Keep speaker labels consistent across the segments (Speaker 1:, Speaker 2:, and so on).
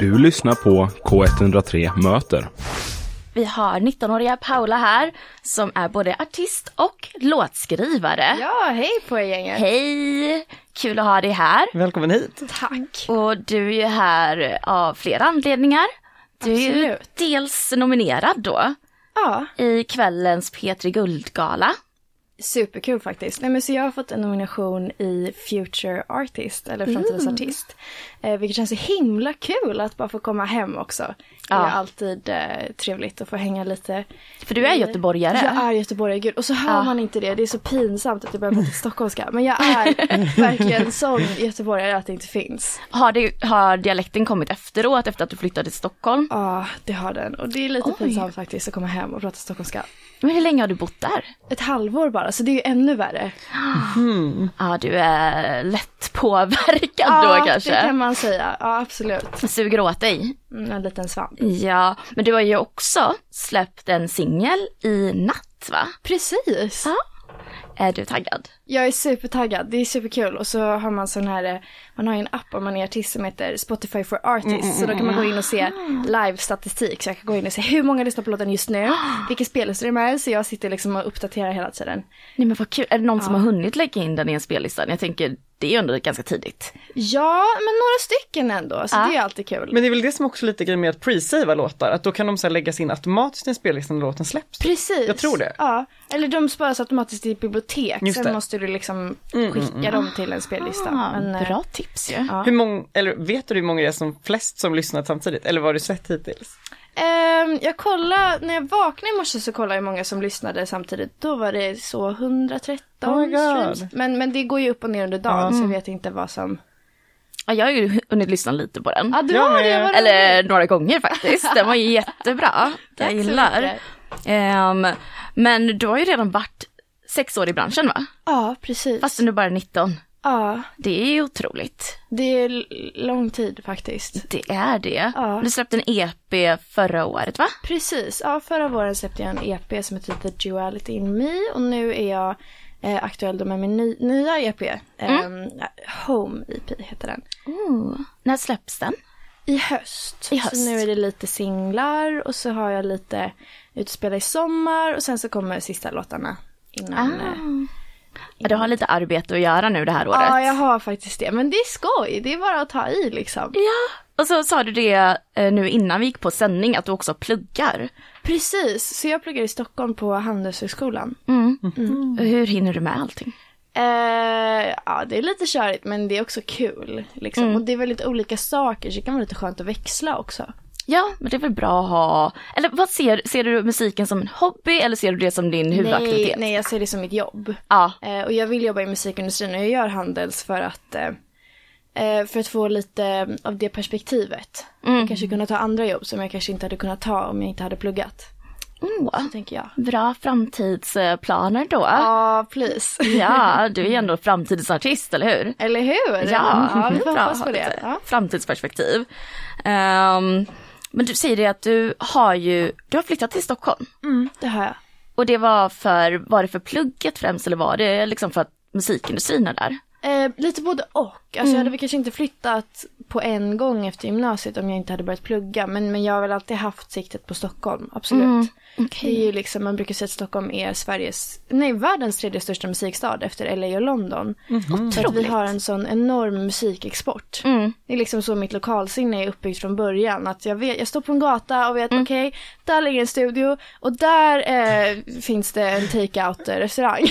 Speaker 1: Du lyssnar på K103 Möter.
Speaker 2: Vi har 19-åriga Paula här som är både artist och låtskrivare.
Speaker 3: Ja, hej på er gänget.
Speaker 2: Hej! Kul att ha dig här.
Speaker 4: Välkommen hit.
Speaker 3: Tack.
Speaker 2: Och du är ju här av flera anledningar. Du är ju
Speaker 3: Absolut.
Speaker 2: dels nominerad då
Speaker 3: Ja,
Speaker 2: i kvällens P3 Guldgala.
Speaker 3: superkul faktiskt. Nej, men så jag har fått en nomination i Future Artist, eller
Speaker 2: Mm.
Speaker 3: Framtidens Artist. Eh, vilket känns så himla kul att bara få komma hem också.
Speaker 2: Ja.
Speaker 3: Det är alltid eh, trevligt att få hänga lite.
Speaker 2: För du är
Speaker 3: i-
Speaker 2: göteborgare.
Speaker 3: Jag är göteborgare, gud. Och så hör
Speaker 2: Ja.
Speaker 3: man inte det. Det är så pinsamt att jag börjar prata stockholmska. Men jag är verkligen sån göteborgare att det inte finns.
Speaker 2: Har, det, har dialekten kommit efteråt, efter att du flyttade till Stockholm?
Speaker 3: Ja, det har den. Och det är lite
Speaker 2: Oj.
Speaker 3: pinsamt faktiskt att komma hem och prata stockholmska.
Speaker 2: Men hur länge har du bott där?
Speaker 3: Ett halvår bara, så det är ju ännu värre.
Speaker 2: Ja, du är lätt påverkad då kanske.
Speaker 3: det kan man säga. Ja, absolut.
Speaker 2: Suger åt dig.
Speaker 3: Mm, en liten svamp.
Speaker 2: Ja, men du har ju också släppt en singel i natt va?
Speaker 3: Precis.
Speaker 2: Ja. Är du taggad?
Speaker 3: Jag är supertaggad. Det är superkul. Och så har man sån här, eh, man har ju en app om man är artist som heter Spotify for Artists. så då kan man gå in och se live-statistik. Så jag kan gå in och se hur många lyssnar på låten just nu. Vilken spellista det är med. Så jag sitter liksom och uppdaterar hela tiden.
Speaker 2: Nej men vad kul, är det någon som har hunnit lägga in den i en spellista? Jag tänker, det är ju ändå ganska tidigt.
Speaker 3: Ja, men några stycken ändå. Så
Speaker 2: Ja.
Speaker 3: det är alltid kul.
Speaker 4: Men det är väl det som också är lite grejen med att pre-savea låtar, att då kan de så här läggas in automatiskt i en spellista när låten släpps.
Speaker 3: Precis.
Speaker 4: Jag tror det.
Speaker 3: Ja. Eller de sparas automatiskt i ett bibliotek.
Speaker 4: Just
Speaker 3: Sen
Speaker 4: det.
Speaker 3: måste du liksom skicka dem till en spellista.
Speaker 2: Ah,
Speaker 3: Men, eh,
Speaker 2: bra tips ju.
Speaker 3: Ja.
Speaker 4: Hur många, eller vet du hur många det är som flest som lyssnat samtidigt? Eller vad har du sett hittills?
Speaker 3: Ehm, jag kollade, när jag vaknade i morse så kollade jag hur många som lyssnade samtidigt. Då var det så 113
Speaker 4: Oh my God. Mm.
Speaker 3: streams. Men, men det går ju upp och ner under dagen så jag vet inte vad som...
Speaker 2: Ja, jag har ju hunnit lyssna lite på den.
Speaker 3: Ja, du
Speaker 4: Jag
Speaker 3: har
Speaker 4: med.
Speaker 3: det! Vad
Speaker 2: Eller några gånger faktiskt. Den var ju jättebra.
Speaker 3: Tack
Speaker 2: jag
Speaker 3: så
Speaker 2: gillar.
Speaker 3: mycket.
Speaker 2: Ehm, men du har ju redan varit sex år i branschen va?
Speaker 3: Ja, precis.
Speaker 2: Fastän du bara är 19.
Speaker 3: Ja,
Speaker 2: Det är ju otroligt.
Speaker 3: det är l- lång tid faktiskt.
Speaker 2: Det är det.
Speaker 3: Ja.
Speaker 2: Du släppte en EP förra året va?
Speaker 3: Precis. Ja, förra våren släppte jag en EP som heter The Duality in Me och nu är jag eh, aktuell då med min ny, nya EP. Ehm, Home EP heter den.
Speaker 2: När släpps den?
Speaker 3: I höst.
Speaker 2: I höst.
Speaker 3: Så nu är det lite singlar och så har jag lite utspela i sommar och sen så kommer sista låtarna innan. eh,
Speaker 2: Ja, du har lite arbete att göra nu det här året.
Speaker 3: Ja, jag har faktiskt det. Men det är skoj. Det är bara att ta i liksom.
Speaker 2: Ja, och så sa du det eh, nu innan vi gick på sändning att du också pluggar.
Speaker 3: Precis. Så jag pluggar i Stockholm på Handelshögskolan.
Speaker 2: Mm. Hur hinner du med allting?
Speaker 3: Eh, ja, det är lite körigt men det är också kul. Liksom. Och det är väldigt olika saker så det kan vara lite skönt att växla också.
Speaker 2: Ja, men det är väl bra att ha, eller vad ser, ser du musiken som en hobby eller ser du det som din
Speaker 3: Nej,
Speaker 2: huvudaktivitet?
Speaker 3: nej, jag ser det som mitt jobb.
Speaker 2: Ja,
Speaker 3: Eh, och jag vill jobba i musikindustrin och jag gör Handels för att, eh, eh, för att få lite av det perspektivet. Och kanske kunna ta andra jobb som jag kanske inte hade kunnat ta om jag inte hade pluggat.
Speaker 2: oh,
Speaker 3: Tänker jag.
Speaker 2: bra framtidsplaner då.
Speaker 3: Ja, please.
Speaker 2: Ja, du är ju ändå framtidsartist, eller hur?
Speaker 3: Eller hur? Mm, vi får
Speaker 2: bra
Speaker 3: hoppas
Speaker 2: att
Speaker 3: på
Speaker 2: ha
Speaker 3: det.
Speaker 2: lite
Speaker 3: Ja.
Speaker 2: Framtidsperspektiv. Ehm, men du säger det att du har ju, du har flyttat till Stockholm.
Speaker 3: Mm, det har jag.
Speaker 2: Och det var för, var det för plugget främst eller var det liksom för att musikindustrin är där?
Speaker 3: Eh, lite både och. Alltså jag hade väl kanske inte flyttat på en gång efter gymnasiet om jag inte hade börjat plugga. Men, men jag har väl alltid haft siktet på Stockholm, absolut. Det är ju liksom, man brukar säga att Stockholm är Sveriges, nej världens tredje största musikstad efter LA och London. För att vi
Speaker 2: Otroligt. Mm.
Speaker 3: har en sån enorm musikexport. Det är liksom så mitt lokalsinne är uppbyggt från början. Att jag, vet, jag står på en gata och vet okej, där ligger en studio och där eh, finns det en take-out restaurang.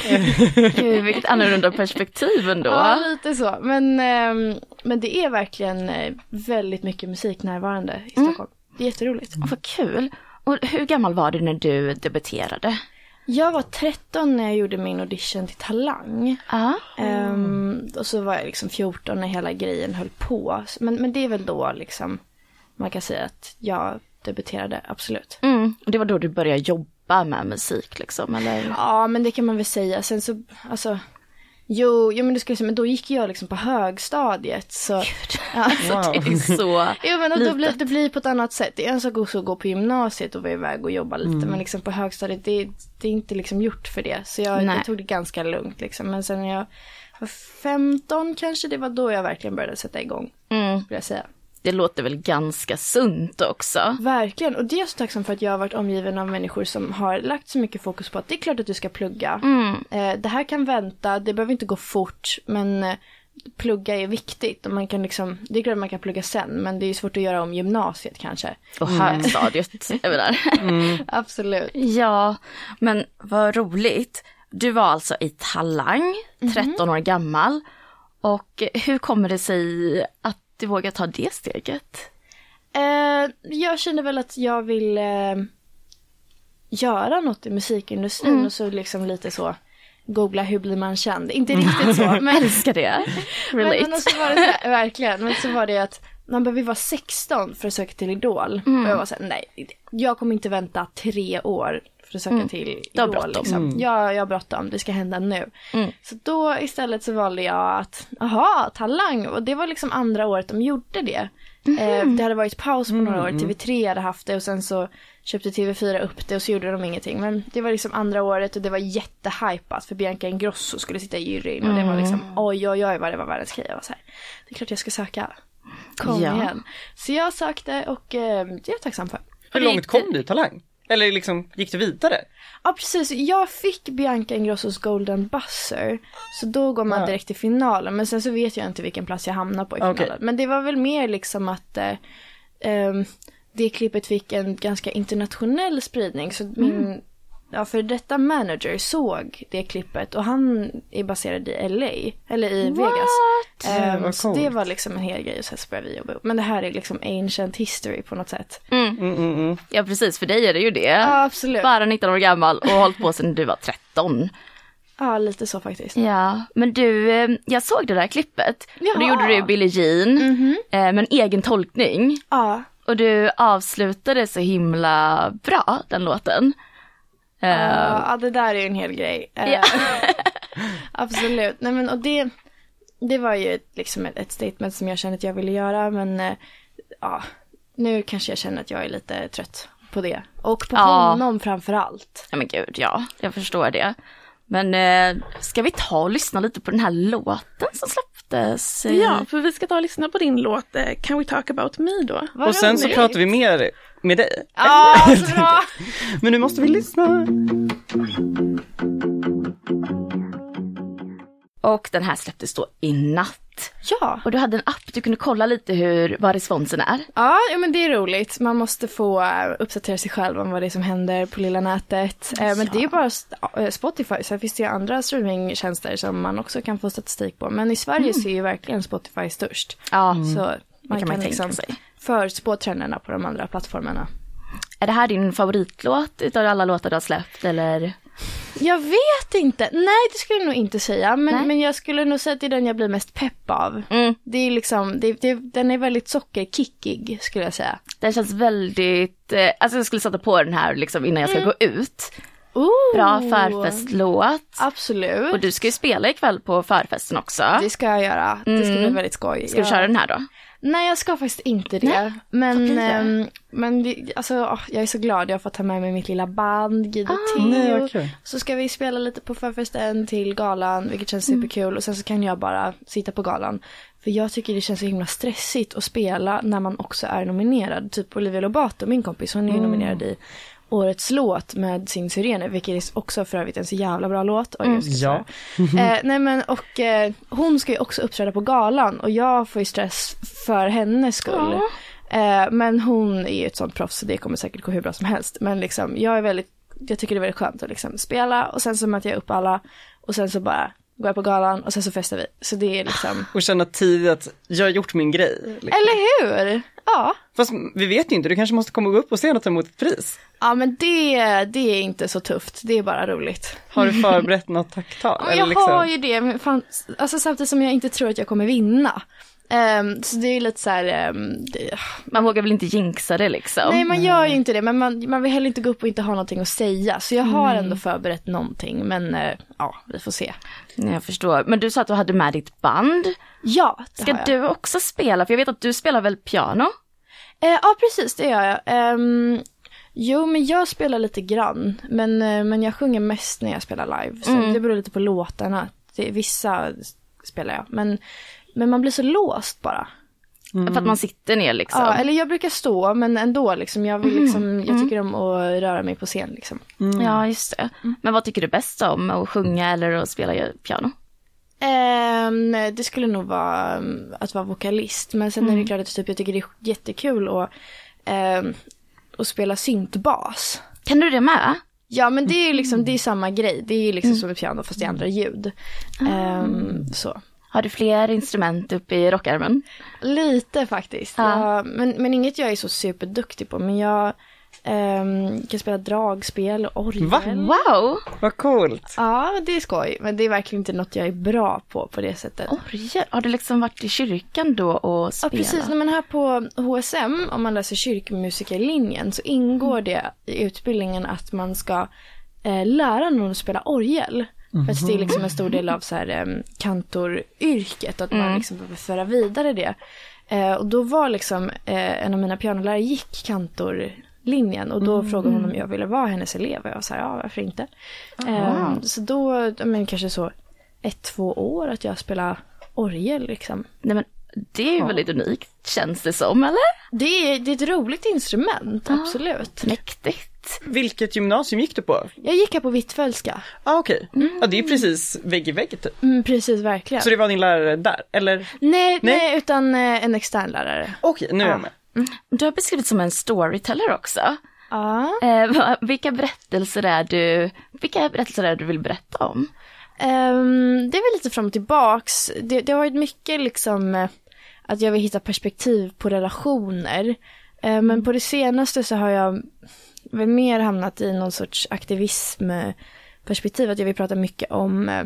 Speaker 2: Gud, vilket annorlunda perspektiv ändå.
Speaker 3: Mm. Ja, lite så. Men, ehm, men det är verkligen eh, väldigt mycket musik närvarande i Stockholm. Det är jätteroligt.
Speaker 2: Vad kul. Och hur gammal var du när du debuterade?
Speaker 3: Jag var 13 när jag gjorde min audition till Talang.
Speaker 2: Ja.
Speaker 3: Ehm, och så var jag liksom 14 när hela grejen höll på. Så- Men, men det är väl då liksom man kan säga att jag debuterade, absolut.
Speaker 2: Mm. Och det var då du började jobba med musik liksom, eller?
Speaker 3: Ja, men det kan man väl säga. Sen så, alltså, jo, jo men du skulle säga, men då gick jag liksom på högstadiet så. Ja.
Speaker 2: Alltså, det är så...
Speaker 3: Jo men och då blir, det blir på ett annat sätt. Det är en sak också att gå på gymnasiet och vara iväg och jobba lite.
Speaker 2: Mm.
Speaker 3: Men liksom på högstadiet, det, det är inte liksom gjort för det. Så jag,
Speaker 2: Nej.
Speaker 3: jag tog det ganska lugnt liksom. Men sen när jag var 15 kanske, det var då jag verkligen började sätta igång.
Speaker 2: Mm.
Speaker 3: Skulle jag säga.
Speaker 2: det låter väl ganska sunt också.
Speaker 3: Verkligen, och det är jag så tacksam för att jag har varit omgiven av människor som har lagt så mycket fokus på att det är klart att du ska plugga.
Speaker 2: Mm.
Speaker 3: Eh, Det här kan vänta, det behöver inte gå fort, men eh, plugga är viktigt och man kan liksom, det är klart man kan plugga sen, men det är ju svårt att göra om gymnasiet kanske.
Speaker 2: Och högstadiet, jag menar.
Speaker 3: Absolut.
Speaker 2: Ja, men vad roligt. Du var alltså i Talang,
Speaker 3: Mhm.
Speaker 2: 13 år gammal. Och hur kommer det sig att du vågar ta det steget?
Speaker 3: Eh, jag kände väl att jag vill eh, göra något i musikindustrin och så liksom lite så googla hur blir man känd. Inte riktigt så men,
Speaker 2: Älskar det.
Speaker 3: men, men alltså-
Speaker 2: Relate.
Speaker 3: och så var det så här, verkligen. Men så var det att man behöver vara 16 för att söka till Idol. Och jag var så här, nej jag kommer inte vänta tre år för att söka till Idol.
Speaker 2: Du har bråttom.
Speaker 3: Liksom. Ja, jag har bråttom, det ska hända nu. Så då istället så valde jag att, aha, Talang. Och det var liksom andra året de gjorde det. Eh, det hade varit paus på några år, TV3 hade haft det och sen så köpte TV4 upp det och så gjorde de ingenting. Men det var liksom andra året och det var jättehypat för Bianca Ingrosso skulle sitta i juryn och det var liksom oj oj oj vad det var världens grej. Jag var så här, det är klart jag ska söka. Kom
Speaker 2: Ja.
Speaker 3: igen. Så jag sökte och eh, det är jag tacksam för.
Speaker 4: Hur
Speaker 2: det gick
Speaker 4: långt
Speaker 2: det-
Speaker 4: kom du i Talang? Eller liksom, gick du vidare?
Speaker 3: Ja precis, jag fick Bianca Ingrossos Golden Buzzer. Så då går man direkt till finalen. Men sen så vet jag inte vilken plats jag hamnar på i
Speaker 4: Okej.
Speaker 3: finalen. Men det var väl mer liksom att eh, ehm, det klippet fick en ganska internationell spridning. Så min ja, för detta manager såg det klippet och han är baserad i LA, eller i Vegas. Ehm,
Speaker 4: vad
Speaker 3: så det
Speaker 4: coolt.
Speaker 3: var liksom en hel grej och sen så började vi jobba ihop. Men det här är liksom ancient history på något sätt.
Speaker 2: Mm.
Speaker 3: mm,
Speaker 2: Ja precis, för dig är det ju det.
Speaker 3: Ja, absolut.
Speaker 2: Bara 19 år gammal och hållit på sedan du var 13.
Speaker 3: Ja, lite så faktiskt.
Speaker 2: Ja, men du, eh, jag såg det där klippet. Och då
Speaker 3: Jaha. Mhm.
Speaker 2: gjorde du Billie Jean, eh, men egen tolkning.
Speaker 3: Ja.
Speaker 2: Och du avslutade så himla bra den låten. Eh,
Speaker 3: Ja, ja, det där är ju en hel grej. Eh,
Speaker 2: Ja.
Speaker 3: Absolut. Nej, men, och det, det var ju ett, liksom ett, ett statement som jag kände att jag ville göra men eh, ja, nu kanske jag känner att jag är lite trött på det. Och på
Speaker 2: Ja.
Speaker 3: honom framför allt.
Speaker 2: Ja men gud, ja, jag förstår det. Men eh, ska vi ta och lyssna lite på den här låten som släpptes? i-
Speaker 5: Ja, för vi ska ta och lyssna på din låt eh, Can we talk about me då?
Speaker 3: Vad
Speaker 4: och sen så
Speaker 3: roligt.
Speaker 4: pratar vi mer med dig.
Speaker 3: Ja, så bra!
Speaker 4: Men nu måste vi lyssna.
Speaker 2: Och den här släpptes då i natt.
Speaker 3: Ja.
Speaker 2: Och du hade en app, du kunde kolla lite hur, vad responsen är.
Speaker 3: Ja, ja, men det är roligt. Man måste få eh, uppdatera sig själv om vad det är som händer på lilla nätet. Eh, Men det är ju bara st- eh, Spotify, sen finns det ju andra streamingtjänster som man också kan få statistik på. Men i Sverige så är ju verkligen Spotify störst.
Speaker 2: Ja.
Speaker 3: Så man
Speaker 2: Mm. kan man
Speaker 3: kan,
Speaker 2: tänka
Speaker 3: liksom
Speaker 2: sig.
Speaker 3: förutspå trenderna på de andra plattformarna.
Speaker 2: Är det här din favoritlåt utav alla låtar du har släppt eller?
Speaker 3: Jag vet inte. Nej, det skulle jag nog inte säga.
Speaker 2: Nej.
Speaker 3: Men, men jag skulle nog säga att det är den jag blir mest pepp av.
Speaker 2: Mm.
Speaker 3: Det är liksom, det, det, den är väldigt sockerkickig skulle jag säga.
Speaker 2: Den känns väldigt, eh, alltså jag skulle sätta på den här liksom innan jag
Speaker 3: Mm.
Speaker 2: ska gå ut.
Speaker 3: Ooh.
Speaker 2: Bra förfestlåt.
Speaker 3: Oh. Absolut.
Speaker 2: Och du ska ju spela ikväll på förfesten också.
Speaker 3: Det ska jag göra. Det ska bli väldigt skoj.
Speaker 2: Ska du
Speaker 3: Jag-
Speaker 2: köra den här då?
Speaker 3: Nej, jag ska faktiskt inte det.
Speaker 2: Nej, vad
Speaker 3: men
Speaker 2: blir det?
Speaker 3: ehm, men det, alltså, åh, jag är så glad. Jag har fått ta med mig mitt lilla band, Guido
Speaker 4: nej,
Speaker 3: Theo.
Speaker 4: vad kul.
Speaker 3: Så ska vi spela lite på förfesten till galan, vilket känns superkul. Och sen så kan jag bara sitta på galan. För jag tycker det känns så himla stressigt att spela när man också är nominerad. Typ Olivia Lobato, min kompis, hon är ju nominerad i Årets låt med sin Sirene, vilket är också för övrigt en så jävla bra låt. Oj, jag ska
Speaker 4: Ja.
Speaker 3: eh, nej men och eh, hon ska ju också uppträda på galan och jag får ju stress för hennes skull. Eh, men hon är ju ett sånt proffs så det kommer säkert gå hur bra som helst. Men liksom jag är väldigt, jag tycker det är väldigt skönt att liksom spela och sen så möter jag upp alla och sen så bara går jag på galan och sen så festar vi. Så det är liksom,
Speaker 4: Och känna tidigt att jag har gjort min grej. Liksom.
Speaker 3: eller hur? Ja.
Speaker 4: Fast vi vet ju inte, du kanske måste komma upp på scen och ta emot ett pris.
Speaker 3: Ja men det, det är inte så tufft, det är bara roligt.
Speaker 4: Har du förberett något tacktal?
Speaker 3: Ja, men
Speaker 4: Eller
Speaker 3: jag
Speaker 4: liksom-
Speaker 3: har ju det, men fan, alltså, samtidigt som jag inte tror att jag kommer vinna. Ehm, så det är ju lite så här, ehm, det,
Speaker 2: Man vågar väl inte jinxa det liksom?
Speaker 3: nej man gör ju inte det men man, man vill heller inte gå upp och inte ha någonting att säga. Så jag har ändå förberett någonting men eh, ja, vi får se.
Speaker 2: Nej, Jag förstår. Men du sa att du hade med ditt band.
Speaker 3: Ja, det
Speaker 2: Ska
Speaker 3: har jag.
Speaker 2: du också spela? För jag vet att du spelar väl piano?
Speaker 3: Eh, ja precis, det gör jag. Ehm, jo men jag spelar lite grann men, eh, men jag sjunger mest när jag spelar live. Så det beror lite på låtarna. Det, vissa spelar jag men, men man blir så låst bara.
Speaker 2: För att man sitter ner liksom.
Speaker 3: Mm. Ja, eller jag brukar stå men ändå liksom. Jag, vill, liksom, jag tycker om att röra mig på scen liksom.
Speaker 2: Mm. Ja, just det.
Speaker 3: Mm.
Speaker 2: Men vad tycker du bäst om? Att sjunga eller att spela ju- piano?
Speaker 3: Ehm, det skulle nog vara mm, att vara vokalist. Men sen är det klart att typ, jag tycker det är jättekul att, ehm, att spela syntbas.
Speaker 2: Kan du det med?
Speaker 3: Ja men det är ju liksom, det är samma grej. Det är ju liksom som ett piano fast i andra ljud. Ehm, så.
Speaker 2: Har du fler instrument uppe i rockärmen?
Speaker 3: Lite faktiskt.
Speaker 2: Ja.
Speaker 3: Jag, men, men inget jag är så superduktig på. Men jag ehm, kan spela dragspel och orgel.
Speaker 4: Va?
Speaker 2: Wow!
Speaker 4: Vad coolt.
Speaker 3: Ja, det är skoj. Men det är verkligen inte något jag är bra på på det sättet.
Speaker 2: Orgel? Har du liksom varit i kyrkan då och
Speaker 3: Ja
Speaker 2: spelat?
Speaker 3: precis, Nej, men här på HSM om man läser kyrkmusikerlinjen så ingår det i utbildningen att man ska eh, lära någon att spela orgel. För att det är liksom en stor del av så här, eh, kantoryrket och att man liksom behöver föra vidare det. Eh, och då var liksom eh, en av mina pianolärare gick kantorlinjen och då frågade hon om jag ville vara hennes elev och jag var så här, ja varför inte. Eh, så då, ja, men kanske så ett, två år att jag spelar orgel liksom.
Speaker 2: Nej, men det är ju väldigt unikt, känns det som, eller?
Speaker 3: Det är, det är ett roligt instrument, absolut.
Speaker 2: Mäktigt.
Speaker 4: Vilket gymnasium gick du på?
Speaker 3: Jag gick här på Hvitfeldtska.
Speaker 4: Ah, okej. Ja, det är precis vägg i vägg typ.
Speaker 3: Mm, precis, verkligen.
Speaker 4: Så det var din lärare där, eller?
Speaker 3: Nej, nej,
Speaker 4: Nej.
Speaker 3: utan eh, en extern lärare.
Speaker 4: Okej, nu är
Speaker 3: Ja.
Speaker 4: jag med.
Speaker 2: Du har beskrivits som en storyteller också.
Speaker 3: Ja.
Speaker 2: Eh, va- vilka, berättelser är du, vilka berättelser är du vill berätta om?
Speaker 3: Ehm, det är väl lite fram och tillbaks. Det, det har varit mycket liksom eh, att jag vill hitta perspektiv på relationer. Eh, men på det senaste så har jag väl mer hamnat i någon sorts aktivismperspektiv. Att jag vill prata mycket om, eh,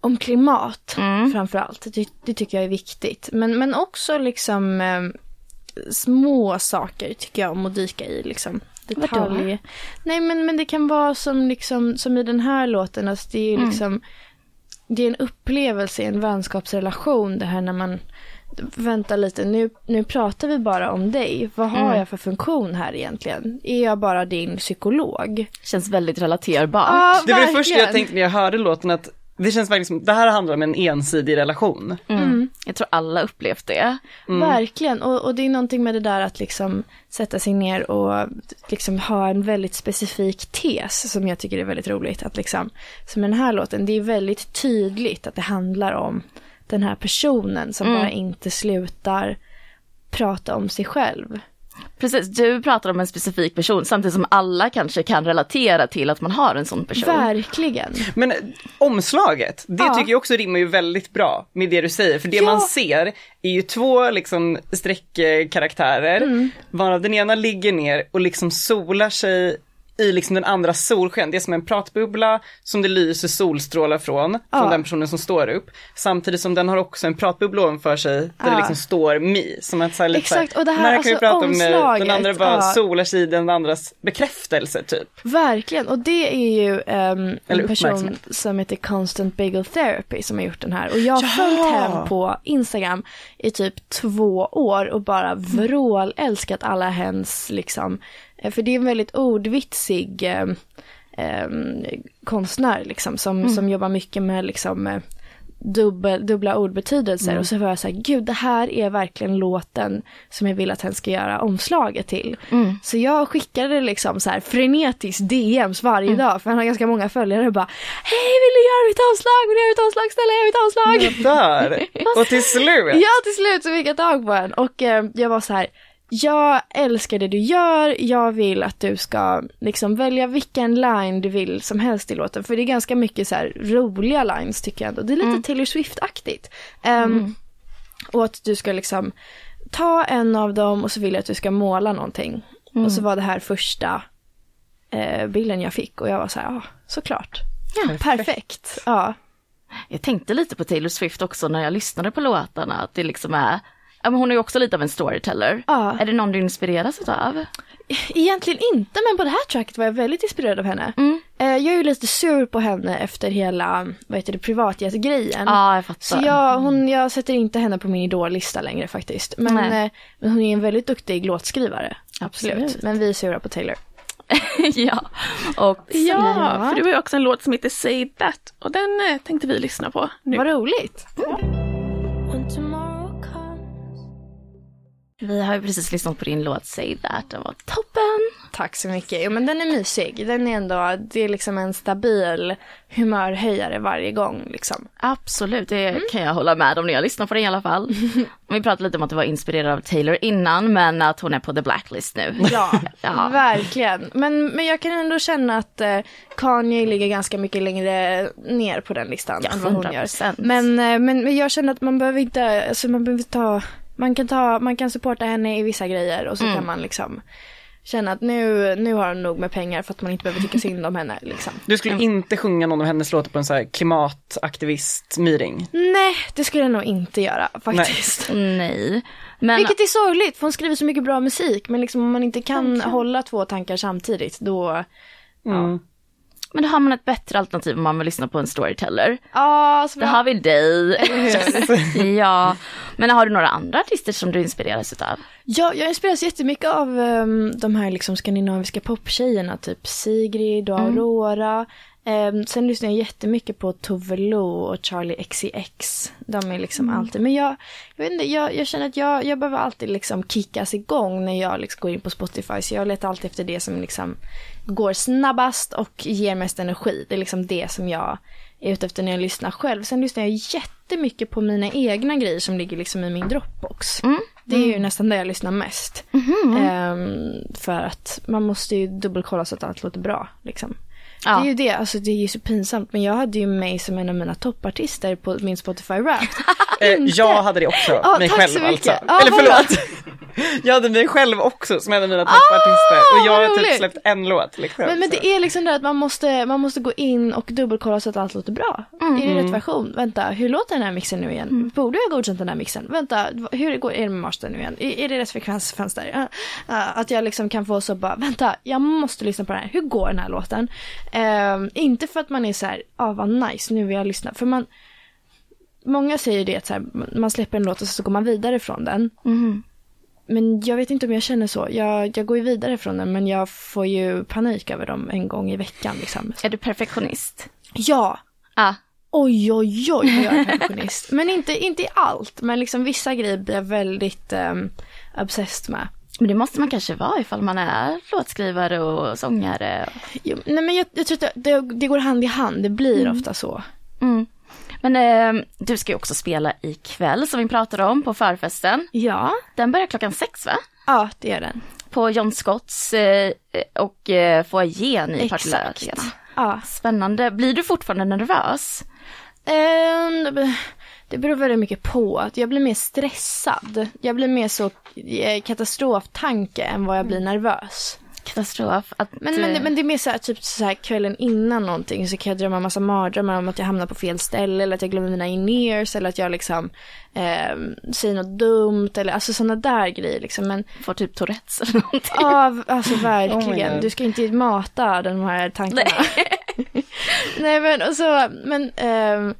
Speaker 3: om klimat framför allt. Det, det tycker jag är viktigt. Men, men också liksom eh, små saker tycker jag om att dyka i. Liksom. Detalj. Nej men, men det kan vara som, liksom, som i den här låten. Alltså, det är ju liksom det är en upplevelse i en vänskapsrelation det här när man Vänta lite, nu, nu pratar vi bara om dig. Vad har jag för funktion här egentligen? Är jag bara din psykolog?
Speaker 2: Känns väldigt relaterbart.
Speaker 3: Ja,
Speaker 4: Det var det
Speaker 3: verkligen.
Speaker 4: första jag tänkte när jag hörde låten att det känns verkligen som, det här handlar om en ensidig relation.
Speaker 2: Mm.
Speaker 3: mm.
Speaker 2: Jag tror alla upplevt det.
Speaker 3: Verkligen, och, och det är någonting med det där att liksom sätta sig ner och liksom ha en väldigt specifik tes som jag tycker är väldigt roligt. Att liksom, som i den här låten, det är väldigt tydligt att det handlar om den här personen som bara inte slutar prata om sig själv.
Speaker 2: Precis, du pratar om en specifik person samtidigt som alla kanske kan relatera till att man har en sån person.
Speaker 3: Verkligen.
Speaker 4: Men eh, omslaget, det
Speaker 3: Ja.
Speaker 4: tycker jag också rimmar ju väldigt bra med det du säger. För det
Speaker 3: Ja.
Speaker 4: man ser är ju två liksom streckkaraktärer,
Speaker 3: Mm.
Speaker 4: varav den ena ligger ner och liksom solar sig i liksom den andra solsken. Det är som en pratbubbla som det lyser solstrålar från,
Speaker 3: Ja.
Speaker 4: från den personen som står upp. Samtidigt som den har också en pratbubbla ovanför sig där
Speaker 3: Ja.
Speaker 4: det liksom står me. Som att så här, lite
Speaker 3: Exakt,
Speaker 4: så här,
Speaker 3: och det här-
Speaker 4: här
Speaker 3: alltså,
Speaker 4: kan vi prata om eh,
Speaker 3: omslaget,
Speaker 4: den andra bara
Speaker 3: ja.
Speaker 4: solar sig i den andras bekräftelse typ.
Speaker 3: Verkligen, och det är ju ehm, en
Speaker 4: Eller
Speaker 3: person
Speaker 4: uppmärksamhet.
Speaker 3: som heter Constant Bagel Therapy som har gjort den här. Och jag har följt henne på Instagram i typ två år och bara
Speaker 4: Mm.
Speaker 3: vrålälskat alla hennes liksom, eh, för det är en väldigt ordvitsig ehm, ehm, konstnär liksom som,
Speaker 4: Mm.
Speaker 3: som jobbar mycket med liksom eh, dubbel, dubbla ordbetydelser och så var jag så här, gud det här är verkligen låten som jag vill att hen ska göra omslaget till. Så jag skickade liksom så här frenetiskt DMs varje dag för han har ganska många följare och bara, hej vill du göra mitt omslag, vill du göra mitt omslag, snälla gör mitt
Speaker 4: Mm.
Speaker 3: omslag.
Speaker 4: Där! Och till slut!
Speaker 3: Ja, till slut så fick jag tag på en och eh, jag var så här. Jag älskar det du gör, jag vill att du ska liksom välja vilken line du vill som helst i låten. För det är ganska mycket så här roliga lines tycker jag ändå. Det är lite Taylor Swift-aktigt. Ehm, Och att du ska liksom ta en av dem och så vill jag att du ska måla någonting. Och så var det här första eh, bilden jag fick och jag var så här, ja såklart. Perfekt. Ja.
Speaker 2: Jag tänkte lite på Taylor Swift också när jag lyssnade på låtarna. Att det liksom är, ja, men hon är ju också lite av en storyteller.
Speaker 3: Ja.
Speaker 2: Är det någon du inspireras Mm. av?
Speaker 3: Egentligen inte, men på det här tracket var jag väldigt inspirerad av henne. Eh, jag är ju lite sur på henne efter hela, vad heter det, privatjet-grejen.
Speaker 2: Ja, jag fattar.
Speaker 3: Så jag, hon, jag sätter inte henne på min idollista längre faktiskt. Men,
Speaker 2: Nej.
Speaker 3: eh, men hon är en väldigt duktig låtskrivare.
Speaker 2: Absolut.
Speaker 3: Men vi är sura på Taylor.
Speaker 2: ja. Och
Speaker 5: Ja, för det var ju också en låt som heter Say That och den eh, tänkte vi lyssna på nu.
Speaker 3: Vad roligt.
Speaker 6: When tomorrow comes
Speaker 2: Vi har ju precis lyssnat på din låt Say That, den var toppen.
Speaker 3: Tack så mycket. Jo, men den är mysig. Den är ändå, det är liksom en stabil humörhöjare varje gång liksom.
Speaker 2: Absolut, det
Speaker 3: Mm.
Speaker 2: kan jag hålla med om när jag lyssnar på den i alla fall. Vi pratade lite om att du var inspirerad av Taylor innan, men att hon är på the blacklist nu.
Speaker 3: Ja,
Speaker 2: Ja.
Speaker 3: verkligen. Men, men jag kan ändå känna att eh, Kanye ligger ganska mycket längre ner på den listan
Speaker 2: Ja,
Speaker 3: än vad hon gör.
Speaker 2: 100%.
Speaker 3: Men, eh, men, men jag känner att man behöver inte, alltså man behöver ta, man kan ta, man kan supporta henne i vissa grejer och så kan man liksom känna att nu, nu har hon nog med pengar för att man inte behöver tycka synd om henne liksom.
Speaker 4: Du skulle inte sjunga någon av hennes låtar på en så här klimataktivist-meeting?
Speaker 3: Nej, det skulle jag nog inte göra faktiskt.
Speaker 2: Nej. Men
Speaker 3: Vilket är sorgligt, för hon skriver så mycket bra musik. Men liksom om man inte kan hålla två tankar samtidigt då...
Speaker 4: Mm.
Speaker 2: Men då har man ett bättre alternativ om man vill lyssna på en storyteller.
Speaker 3: Ja, så
Speaker 2: Då
Speaker 3: bra.
Speaker 2: har vi dig. ja. Men har du några andra artister som du inspireras utav?
Speaker 3: Ja, jag inspireras jättemycket av ehm, de här liksom skandinaviska poptjejerna, typ Sigrid och Aurora. Ehm, sen lyssnar jag jättemycket på Tove Lo och Charlie XCX. De är liksom alltid, men jag, jag vet inte, jag, jag känner att jag, jag behöver alltid liksom kickas igång när jag liksom går in på Spotify. Så jag letar alltid efter det som liksom går snabbast och ger mest energi. Det är liksom det som jag är ute efter när jag lyssnar själv. Sen lyssnar jag jättemycket på mina egna grejer som ligger liksom i min Dropbox. Det är ju nästan det jag lyssnar mest. Ehm, för att man måste ju dubbelkolla så att allt låter bra. Liksom.
Speaker 2: Ja.
Speaker 3: Det är ju det, alltså det är ju så pinsamt. Men jag hade ju mig som en av mina toppartister på min Spotify Wrapped.
Speaker 4: Eh, jag hade det också,
Speaker 3: Ah,
Speaker 4: mig
Speaker 3: tack
Speaker 4: själv
Speaker 3: så mycket.
Speaker 4: alltså.
Speaker 3: Ah,
Speaker 4: Eller
Speaker 3: vad
Speaker 4: förlåt. jag hade mig själv också som en av mina toppartister. och jag
Speaker 3: vad
Speaker 4: har typ
Speaker 3: Ah, roligt.
Speaker 4: släppt en låt liksom.
Speaker 3: Men, men
Speaker 4: så.
Speaker 3: det är liksom det att man måste, man måste gå in och dubbelkolla så att allt låter bra. Är det rätt version? Vänta, hur låter den här mixen nu igen? Borde jag ha godkänt den här mixen? Vänta, v- hur går är det med mastern nu igen? Är, är det rätt frekvensfönster? Ja, ja, att jag liksom kan få så bara, vänta, jag måste lyssna på den här. Hur går den här låten? Ehm, inte för att man är så här, ah vad nice, nu vill jag lyssna. För man, många säger ju det att så här, man släpper en låt och så går man vidare från den.
Speaker 2: Mm.
Speaker 3: Men jag vet inte om jag känner så. Jag, jag går ju vidare från den men jag får ju panik över dem en gång i veckan. Liksom.
Speaker 2: Är du perfektionist?
Speaker 3: Ja,
Speaker 2: Ja.
Speaker 3: oj oj oj vad jag är perfektionist. men inte, inte i allt, men liksom vissa grejer blir jag väldigt um, obsessed med.
Speaker 2: Men det måste man kanske vara ifall man är låtskrivare och sångare.
Speaker 3: Jo, nej men jag, jag tror att det, det går hand i hand, det blir ofta så.
Speaker 2: Mm. Men eh, du ska ju också spela ikväll som vi pratade om på förfesten.
Speaker 3: Ja.
Speaker 2: Den börjar klockan sex va?
Speaker 3: Ja, det gör den.
Speaker 2: På John Scotts eh, och eh, foajén i Partille
Speaker 3: Exakt.
Speaker 2: Arena.
Speaker 3: Ja.
Speaker 2: Spännande. Blir du fortfarande nervös?
Speaker 3: Ehm, det be- det beror väldigt mycket på. Att jag blir mer stressad. Jag blir mer så eh, katastroftanke än vad jag blir nervös.
Speaker 2: Katastrof. Att, eh,
Speaker 3: Men, men, det- men det är mer så här, typ så här kvällen innan någonting så kan jag drömma en massa mardrömmar om att jag hamnar på fel ställe eller att jag glömmer mina in-ears eller att jag liksom eh, säger något dumt eller alltså sådana där grejer liksom. Men
Speaker 2: får typ Tourettes eller någonting.
Speaker 3: ja, v- alltså
Speaker 4: Oh my
Speaker 3: verkligen.
Speaker 4: God.
Speaker 3: du ska inte mata de här tankarna. Nej, men och så, men ehm,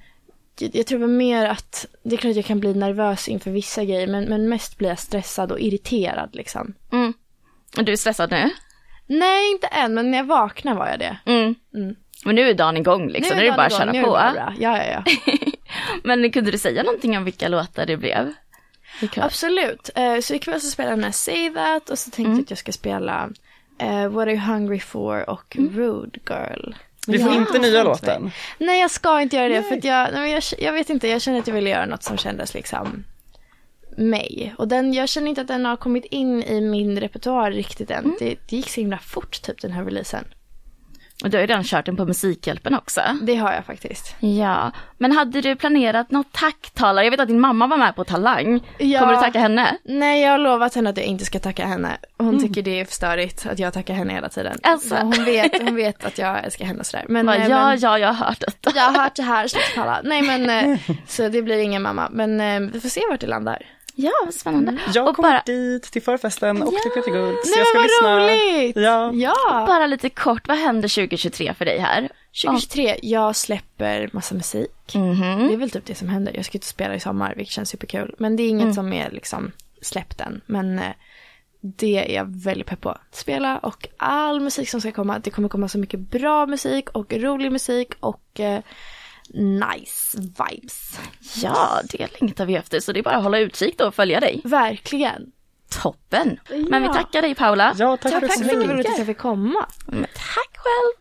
Speaker 3: jag, jag tror väl mer att det är klart jag kan bli nervös inför vissa grejer men, men mest blir jag stressad och irriterad liksom.
Speaker 2: Du är stressad nu?
Speaker 3: Nej, inte än, men när jag vaknar var jag det.
Speaker 2: Mm. Men nu är dagen igång liksom, nu är det
Speaker 3: dagen
Speaker 2: bara att
Speaker 3: igång,
Speaker 2: köra
Speaker 3: nu är det
Speaker 2: på.
Speaker 3: bara bra. Ja, ja, ja.
Speaker 2: Men kunde du säga någonting om vilka låtar det blev? Ikväll.
Speaker 3: Absolut. Eh, så ikväll så spelar jag den här Say That och så tänkte jag att jag ska spela eh, What Are You Hungry For och Rude Girl.
Speaker 4: Vi får
Speaker 3: Ja.
Speaker 4: inte nya låten.
Speaker 3: Nej jag ska inte göra det för att jag, nej, men jag, jag vet inte, jag känner att jag ville göra något som kändes liksom mig. Och den, jag känner inte att den har kommit in i min repertoar riktigt än. Det, det gick så himla fort typ den här releasen.
Speaker 2: Och du har ju redan kört den på Musikhjälpen också.
Speaker 3: Det har jag faktiskt.
Speaker 2: Ja, men hade du planerat något tacktal? Jag vet att din mamma var med på Talang.
Speaker 3: Ja.
Speaker 2: Kommer du tacka henne?
Speaker 3: Nej, jag har lovat henne att jag inte ska tacka henne. Hon tycker det är för störigt att jag tackar henne hela tiden.
Speaker 2: Alltså.
Speaker 3: Men Hon, vet, hon vet att jag älskar henne och sådär. Men,
Speaker 2: Bara,
Speaker 3: eh,
Speaker 2: ja,
Speaker 3: men
Speaker 2: ja, jag har hört detta.
Speaker 3: jag har hört det här, sluta tala. Nej men, eh, så det blir ingen mamma. Men eh, vi får se vart det landar.
Speaker 2: Ja, vad spännande.
Speaker 3: Mm.
Speaker 4: Jag
Speaker 2: och
Speaker 4: kommer
Speaker 2: bara,
Speaker 4: dit till förfesten och till Pretty Good.
Speaker 3: Nej
Speaker 4: jag
Speaker 3: men vad roligt!
Speaker 4: Ja.
Speaker 3: ja.
Speaker 2: bara lite kort, vad händer 2023 för dig här?
Speaker 3: 2023, jag släpper massa musik.
Speaker 2: Mm. Mhm.
Speaker 3: Det är väl typ det som händer. Jag ska ut och spela i sommar, vilket känns superkul. Men det är inget som är liksom släppt än. Men eh, det är jag väldigt pepp på. Att spela och all musik som ska komma. Det kommer komma så mycket bra musik och rolig musik och eh, nice vibes.
Speaker 2: Ja, det längtar vi efter, så det är bara att hålla utkik då och följa dig.
Speaker 3: Verkligen.
Speaker 2: Toppen! Men vi tackar dig Paula.
Speaker 4: Ja, tack,
Speaker 3: Tack
Speaker 4: för
Speaker 3: så mycket
Speaker 4: så
Speaker 3: för
Speaker 4: mycket.
Speaker 3: att jag fick komma.
Speaker 2: Men Mm, tack själv!